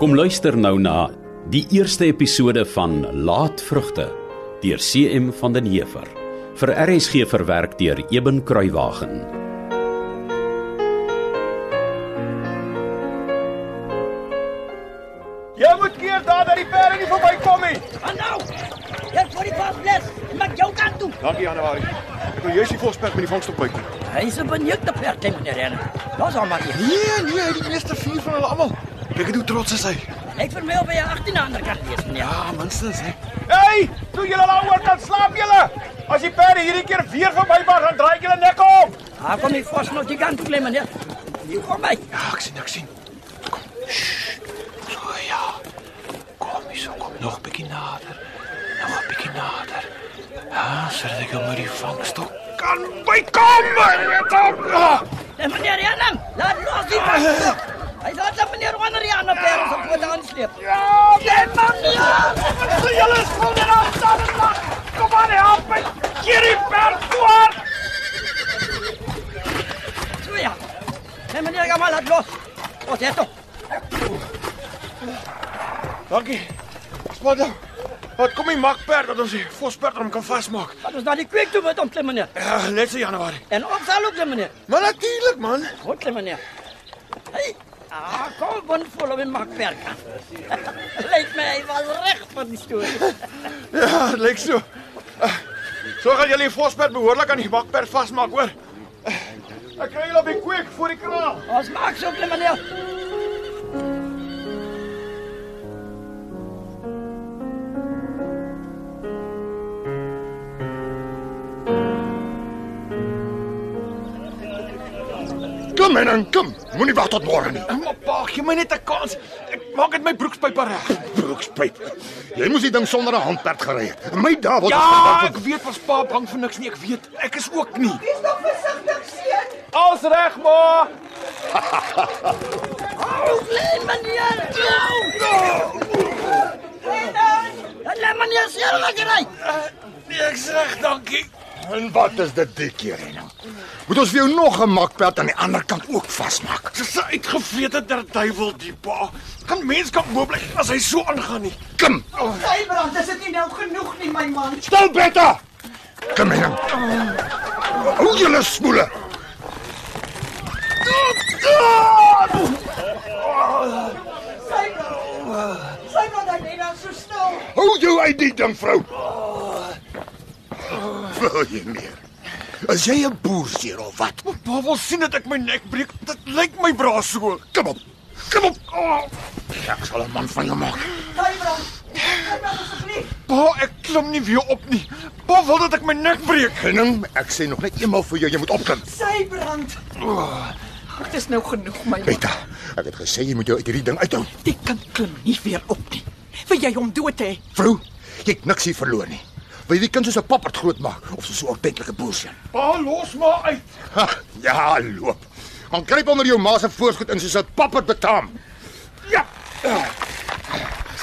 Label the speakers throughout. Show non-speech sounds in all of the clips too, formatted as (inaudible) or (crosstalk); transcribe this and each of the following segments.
Speaker 1: Kom luister nou na die eerste episode van Laatvrugte deur CM van den Heever vir RSG verwerk deur Eben Kruiwagen.
Speaker 2: Jy Ja moet keer daar dat die perde nie verbykom nie.
Speaker 3: Hallo! Hier nou! voor die vasplek. Ek maak jou kant toe.
Speaker 2: Dankie Januarie. Ek wil jous die volsperd met die vangstok byt.
Speaker 3: Hy is 'n benukte perd, meneer Ren. Los hom maar hier.
Speaker 2: Nee, nee, hy het die eerste vier van hulle almal. Kyk hoe trots is hy.
Speaker 3: Ek vermy op by 18 ander kant wees, meneer.
Speaker 2: Ah, minstens hè. Hey, toe julle daaroor kan slaap julle. As die perde hierdie keer weer verby was, dan draai ek julle nek om.
Speaker 3: Daar Ah, kom die vas nog die kant toe, klein meneer. Hier kom hy.
Speaker 2: Ja, ek sien, ek sien. Kom. So ja. Kom hier, so kom nog 'n bietjie nader. Nog 'n bietjie nader. Ah, sodat ek hom met die vangstok kan bykom. Ah.
Speaker 3: En meneer Ren, laat los die vas. Hy laat dan meneer onder die ander perd se voet aansleep.
Speaker 2: Ja,
Speaker 3: Jy man, ja!
Speaker 2: So julle is vol en af staan en lag. Kom aan, help my. Hier die perd voor.
Speaker 3: So ja. En meneer gaan maar laat los. Wat het dit?
Speaker 2: Dankie. Wat dan? Wat kom die makperd dat ons die vosperd aan hom kan vasmaak?
Speaker 3: Wat ons na die kweek toe met hom, klein meneer.
Speaker 2: Ja, net so Januarie.
Speaker 3: En op sal ook, klein meneer.
Speaker 2: Maar natuurlik man.
Speaker 3: Goed, klein meneer. Hey, ah, kom bond vol op in makwerk. (laughs) Lyk my hy was reg vir die storie.
Speaker 2: Ja, dit lyk so. Ah, So gaan julle die vosperd behoorlik aan die makperd vasmaak, hoor. Ah, Ek kry julle op die kweek voor die kraal.
Speaker 3: Ons maak so, klein meneer.
Speaker 4: Kom en dan kom. Moenie wag tot môre nie.
Speaker 2: Maar pa, gee my net 'n kans. Ek maak dit my broekspyp reg.
Speaker 4: Broekspyp. Jy moes die ding sonder 'n handperd gery het. In my dae wat
Speaker 2: Ja, ek weet pas pa bang vir niks nie, ek weet. Ek is ook nie. Wees nog versigtig, seun. Alles reg, ma.
Speaker 3: Ou Oh, klein meneer. Nou. Klein meneer, sien wat jy ry.
Speaker 2: Nee, ek is reg, dankie.
Speaker 4: en wat is dit die keer hè nou? Moet ons vir jou nog 'n makperd aan die ander kant ook vasmaak.
Speaker 2: Dis 'n uitgevrede der duiwel die pa. Kan mens kan moontlik as hy so aangaan nie.
Speaker 4: Kom.
Speaker 5: Sybrand, is dit nie nou genoeg nie, my man?
Speaker 4: Stil Betta. Kom en dan. Hou julle smoele.
Speaker 5: Sybrand. Sybrand, hy lê daar so stil.
Speaker 4: Hou jou uit die ding, vrou. Wil jy meer? As jy 'n boerseer of wat?
Speaker 2: Pa wil sien dat ek my nek breek. Dit lyk my bra so.
Speaker 4: Kom op. Kom op. Oh, ek sal 'n man van jou maak.
Speaker 5: Sybrand. Sybrand asseblief.
Speaker 2: Pa, ek klim nie weer op nie. Pa wil dat ek my nek breek.
Speaker 4: Henning, ek sê nog net eenmaal vir jou, jy moet opklim.
Speaker 5: Sybrand. Dit is nou genoeg, my man.
Speaker 4: Beta, ek het gesê jy moet jou uit hierdie ding uithou.
Speaker 5: Jy kan klim nie weer op nie. Wil jy hom dood hê?
Speaker 4: Vrou, jy het niks hier verloor nie. Wil jy die kind soos 'n papperd groot maak of soos 'n ordentlike boerseun?
Speaker 2: Pa, los maar uit.
Speaker 4: Ha, Ja, loop. Gaan kruip onder jou ma se voorskoot in soos 'n papperd betaam. Ja,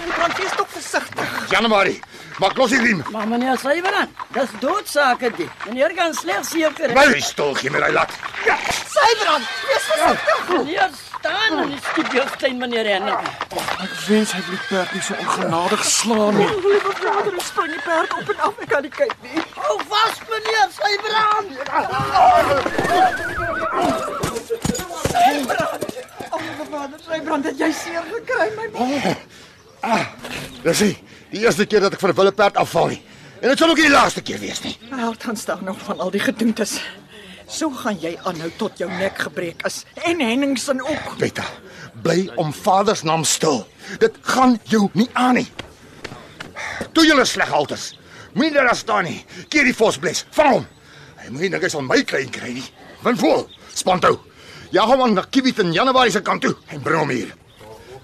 Speaker 5: Sybrand, wees tog versigtig.
Speaker 4: Janemarie, maak los die riem.
Speaker 3: Maar meneer, sê jy dan? Dis doodsake dit. Meneer kan slegs seker.
Speaker 4: Bly stil, gee my daai lat. Ja,
Speaker 5: Sybrand, wees versigtig.
Speaker 3: Meneer staan in die studio, klein meneer.
Speaker 2: Ek wens hy blik perd nie so ongenadig slaan nie.
Speaker 5: Ek liewe vader, hoe spring die perd op en af? Ek kan nie kyk nie.
Speaker 3: Hou vas, meneer, sy brand.
Speaker 5: O, liewe vader, Sybrand, het jy seer gekry, my man?
Speaker 4: dis hy. Die eerste keer dat ek van 'n wilde perd afval nie. En dit sal ook nie die laaste keer wees nie.
Speaker 5: Wel, dan staan nog van al die gedoentes. So gaan jy aanhou tot jou nek gebreek is en Henningsen ook.
Speaker 4: Beta, bly om Vader se naam stil. Dit gaan jou nie aan nie. Toe julle sleg alters. Moenie daar staan nie. Keer die vosbles. Vang hom. Hy moenie dink hy sal my klein kry nie. Wen vol. Spantou. Ja, hom aan na Kiewit in Januarie se kant toe en bring hom hier.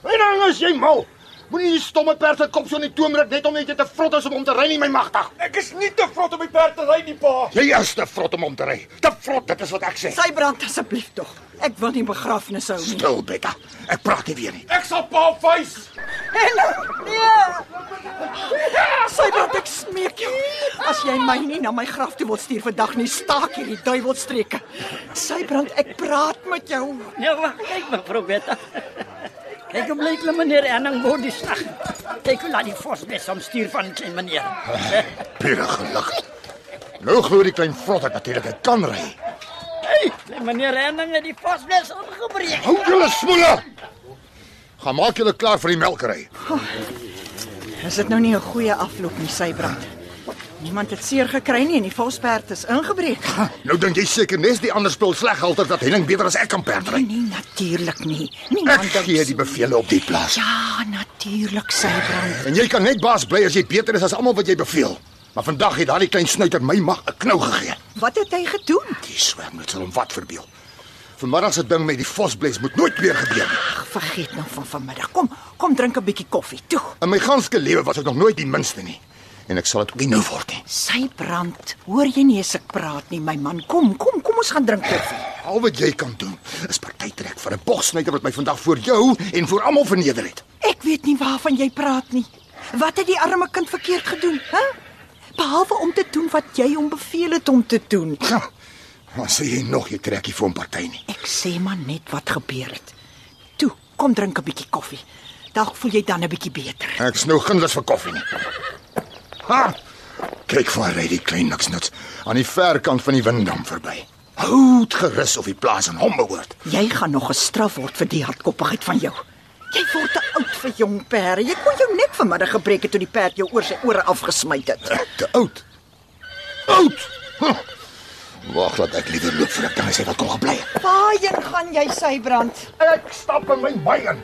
Speaker 4: En dan as jy mal. Moenie die stomme perd se kop so in die toomruk net om net te vrot is om hom te ry nie, my magtig.
Speaker 2: Ek is nie te vrot om die perd te ry nie, pa.
Speaker 4: Jy is te vrot om hom te ry. Te vrot, dit is wat ek sê.
Speaker 5: Sybrand, asseblief tog. Ek wil nie begrafnis hou nie.
Speaker 4: Stil, Beta. Ek praat nie weer nie.
Speaker 2: Ek sal pa wys.
Speaker 5: Hallo. Nee. Sybrand, ek smeek jou. As jy my nie na my graf toe wil stuur vandag nie, staak hierdie duiwelstreke. Sybrand, ek praat met jou.
Speaker 3: Nou wag, kyk mevrou Betta. Kyk hoe blyk hulle meneer Erning word die slag. Kyk hoe laat die vosbes hom stuur van klein meneer.
Speaker 4: Pure geluk. Nou glo die klein vrot het natuurlik hy kan ry.
Speaker 3: Hey, klein meneer Erning het die vosbes omgebreek.
Speaker 4: Hou julle smoele. Gaan maak julle klaar vir die melkery.
Speaker 5: Is dit nou nie 'n goeie afloop nie, Sybrand? Niemand het seer gekry nie en die valsperd is ingebreek.
Speaker 4: Nou dink jy seker nes die ander spul sleghalter dat Henning beter as ek kan perdry.
Speaker 5: Nee, nee natuurlik nie.
Speaker 4: Ek
Speaker 5: Niemand dink
Speaker 4: gee
Speaker 5: so.
Speaker 4: die bevele op die plaas.
Speaker 5: Ja, natuurlik, Sybrand.
Speaker 4: En jy kan net baas bly as jy beter is as almal wat jy beveel. Maar vandag het daardie klein snuiter my mag 'n knou gegee.
Speaker 5: Wat het hy gedoen?
Speaker 4: Die swermel sal hom wat verbeel. Vanmiddag se ding met die vosbles moet nooit weer gebeur nie.
Speaker 5: Ag, vergeet nou van vanmiddag. Kom, kom drink 'n bietjie koffie. Toe.
Speaker 4: In my ganske lewe was ek nog nooit die minste nie. En ek sal dit ook nie nou word nie.
Speaker 5: Sybrand, hoor jy nie as ek praat nie, my man? Kom, kom, kom ons gaan drink koffie.
Speaker 4: Al wat jy kan doen is party trek vir 'n bogsnyder wat my vandag voor jou en voor almal verneder het.
Speaker 5: Ek weet nie waarvan jy praat nie. Wat het die arme kind verkeerd gedoen, hè? Behalwe om te doen wat jy hom beveel het om te doen.
Speaker 4: Ja, maar sê jy nog jy trekkie vir 'n party nie.
Speaker 5: Ek sê maar net wat gebeur het. Toe, kom drink 'n bietjie koffie. Dalk voel jy dan 'n bietjie beter.
Speaker 4: Ek snou ginders vir koffie nie. Ha! Kyk vir hy die klein niksnuts aan die verkant van die winddam verby. Houd gerus of die plaas aan hom behoort.
Speaker 5: Jy gaan nog gestraf word vir die hardkoppigheid van jou. Jy word te oud vir jong perde. Jy kon jou nek vanmiddag gebreek het toe die perd jou oor sy ore afgesmy het.
Speaker 4: Ek Eh, te oud. Oud. Huh. Wag laat ek liewer loop vir ek dan sê wat kom gebly. het.
Speaker 5: Waarheen gaan jy, Sybrand?
Speaker 4: Ek stap in my baai in.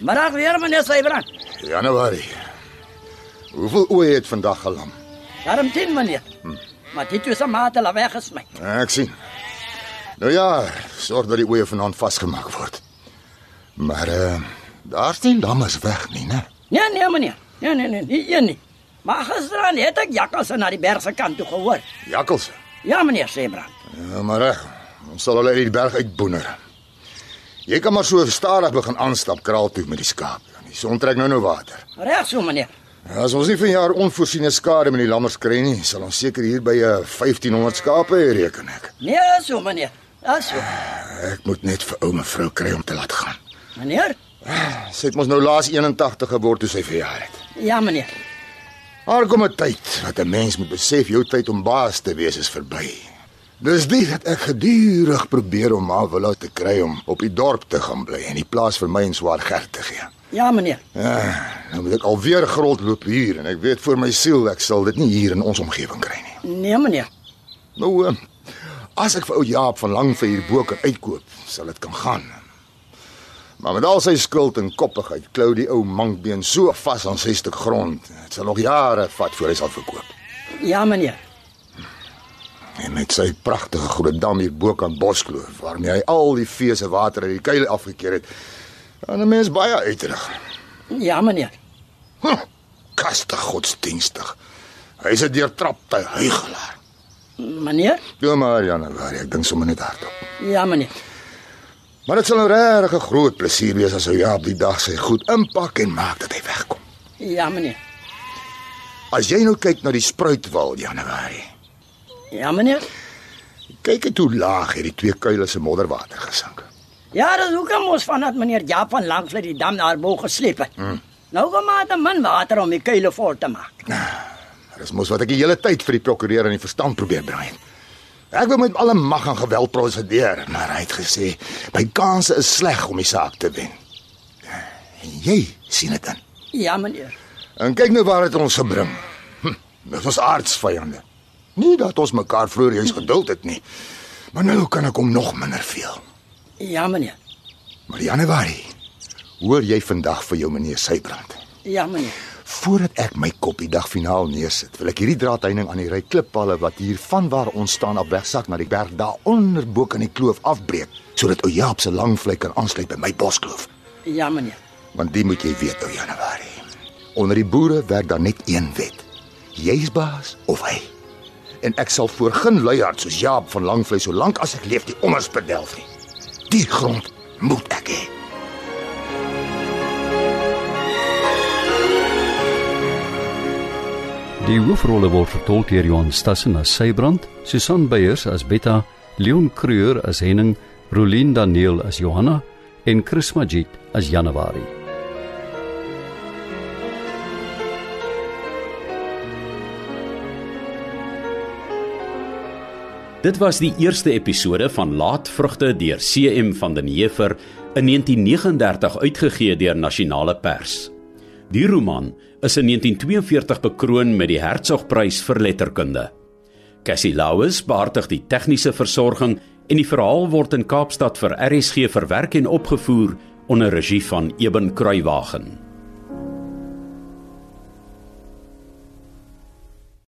Speaker 3: Middag weer meneer Sybrand.
Speaker 4: Januarie. Hoeveel oë het vandag gelam?
Speaker 3: Daarom 10 meneer. Maar dit is 'n mate la weggesmy.
Speaker 4: Ek sien. Nou ja, sorg dat die oë vanaand vasgemaak word. Maar eh uh, daar's nie lammers weg nie, né?
Speaker 3: Nee nee meneer. Nee nee nee, nie een nie. Maar gisteraan het ek jakkals na die berg se kant toe gehoor.
Speaker 4: Jakkals.
Speaker 3: Ja meneer Sybrand.
Speaker 4: Ja, maar reg. Ons sal hulle uit die berg uitboener. Jy kan maar so stadig begin aanstap kraal toe met die skaap. Die son trek nou nou water.
Speaker 3: Reg so meneer.
Speaker 4: As ons nie vanjaar onvoorsiene skade met die lammers kry nie, sal ons seker hier by 'n 1500 skape hê, reken ek.
Speaker 3: Nee so meneer. Dis so.
Speaker 4: Ek moet net vir ou mevrou kry om te laat gaan.
Speaker 3: Meneer?
Speaker 4: Sy het mos nou laas 81 geword toe sy verjaar het.
Speaker 3: Ja meneer.
Speaker 4: Daar kom 'n tyd wat 'n mens moet besef jou tyd om baas te wees is verby. Dis dit dat ek gedurig probeer om haar wil te kry om op die dorp te gaan bly en die plaas vir my en swaar geld te gee.
Speaker 3: Ja meneer.
Speaker 4: Ja, nou moet ek alweer grondloop hier en ek weet vir my siel ek sal dit nie hier in ons omgewing kry nie.
Speaker 3: Nee meneer.
Speaker 4: Nou ehm, as ek vir ou Jaap van lang vir hier bo kan uitkoop, sal dit kan gaan. Maar met al sy skuld en koppigheid klou die ou mankbeen so vas aan sy stuk grond. Dit sal nog jare vat voor hy sal verkoop.
Speaker 3: Ja meneer.
Speaker 4: En met sy pragtige groot dam hier bo kan Boskloof waarmee hy al die vee se water uit die kuile afgekeer het. Dan 'n mens baie uitrig.
Speaker 3: Ja meneer.
Speaker 4: Hm, kastig godsdienstig. Hy is 'n deurtrapte huigelaar.
Speaker 3: Meneer?
Speaker 4: Toe maar Januarie, ek dink sommer net hardop.
Speaker 3: Ja meneer.
Speaker 4: Maar dit sal 'n regtig groot plesier wees as hy ja op die dag sy goed inpak en maak dat hy wegkom.
Speaker 3: Ja meneer.
Speaker 4: As jy nou kyk na die spruitwal Januarie,
Speaker 3: Ja meneer.
Speaker 4: kyk net hoe laag hierdie twee kuile se modderwater gesink.
Speaker 3: Ja, dis hoekom ons vanat meneer Jaap van Langvlei die dam daar bo gesleep het. Mm. Nou kom maar te min water om die kuile vol te maak.
Speaker 4: Dis mos wat ek die hele tyd vir die prokureur aan die verstand probeer bring het. Ek wou met alle mag en geweld prosedeer, maar hy het gesê my kanse is sleg om die saak te wen. En jy sien dit dan.
Speaker 3: Ja meneer.
Speaker 4: En kyk nou waar dit ons gebring. Hm, dit was aardsvyande. Nie dat ons mekaar vroeër eens geduld het nie. Maar nou kan ek hom nog minder veel.
Speaker 3: Ja meneer.
Speaker 4: Maar Januarie, hoor jy vandag vir jou meneer Sybrand?
Speaker 3: Ja meneer.
Speaker 4: Voordat ek my kop die dag finaal neersit, wil ek hierdie draadheining aan die ry klippalle wat hier vanwaar ons staan op wegsak na die berg daar onder bo kan die kloof afbreek, sodat ou Jaap se lang vlei kan aansluit by my boskloof.
Speaker 3: Ja meneer.
Speaker 4: Want dit moet jy weet, ou Januarie. Onder die boere werk daar net een wet. Jy's baas of hy. En ek sal voor geen luiaard soos Jaap van Langvlei solank as ek leef die ommers bedelf nie. Die grond moet ek hê.
Speaker 6: Die hoofrolle word vertolk deur Johan Stassen as Sybrand, Susan Beyers as Betta, Leon Creur as Henning, Rolien Daniel as Johanna en Chris Magid as Januarie.
Speaker 1: Dit was die eerste episode van Laatvrugte deur CM van den Heever in 1939 uitgegee deur Nasionale Pers. Die roman is in 1942 bekroon met die Hertzogprys vir letterkunde. Cassie Lauers behartig die tegniese versorging en die verhaal word in Kaapstad vir RSG verwerk en opgevoer onder regie van Eben Kruiwagen.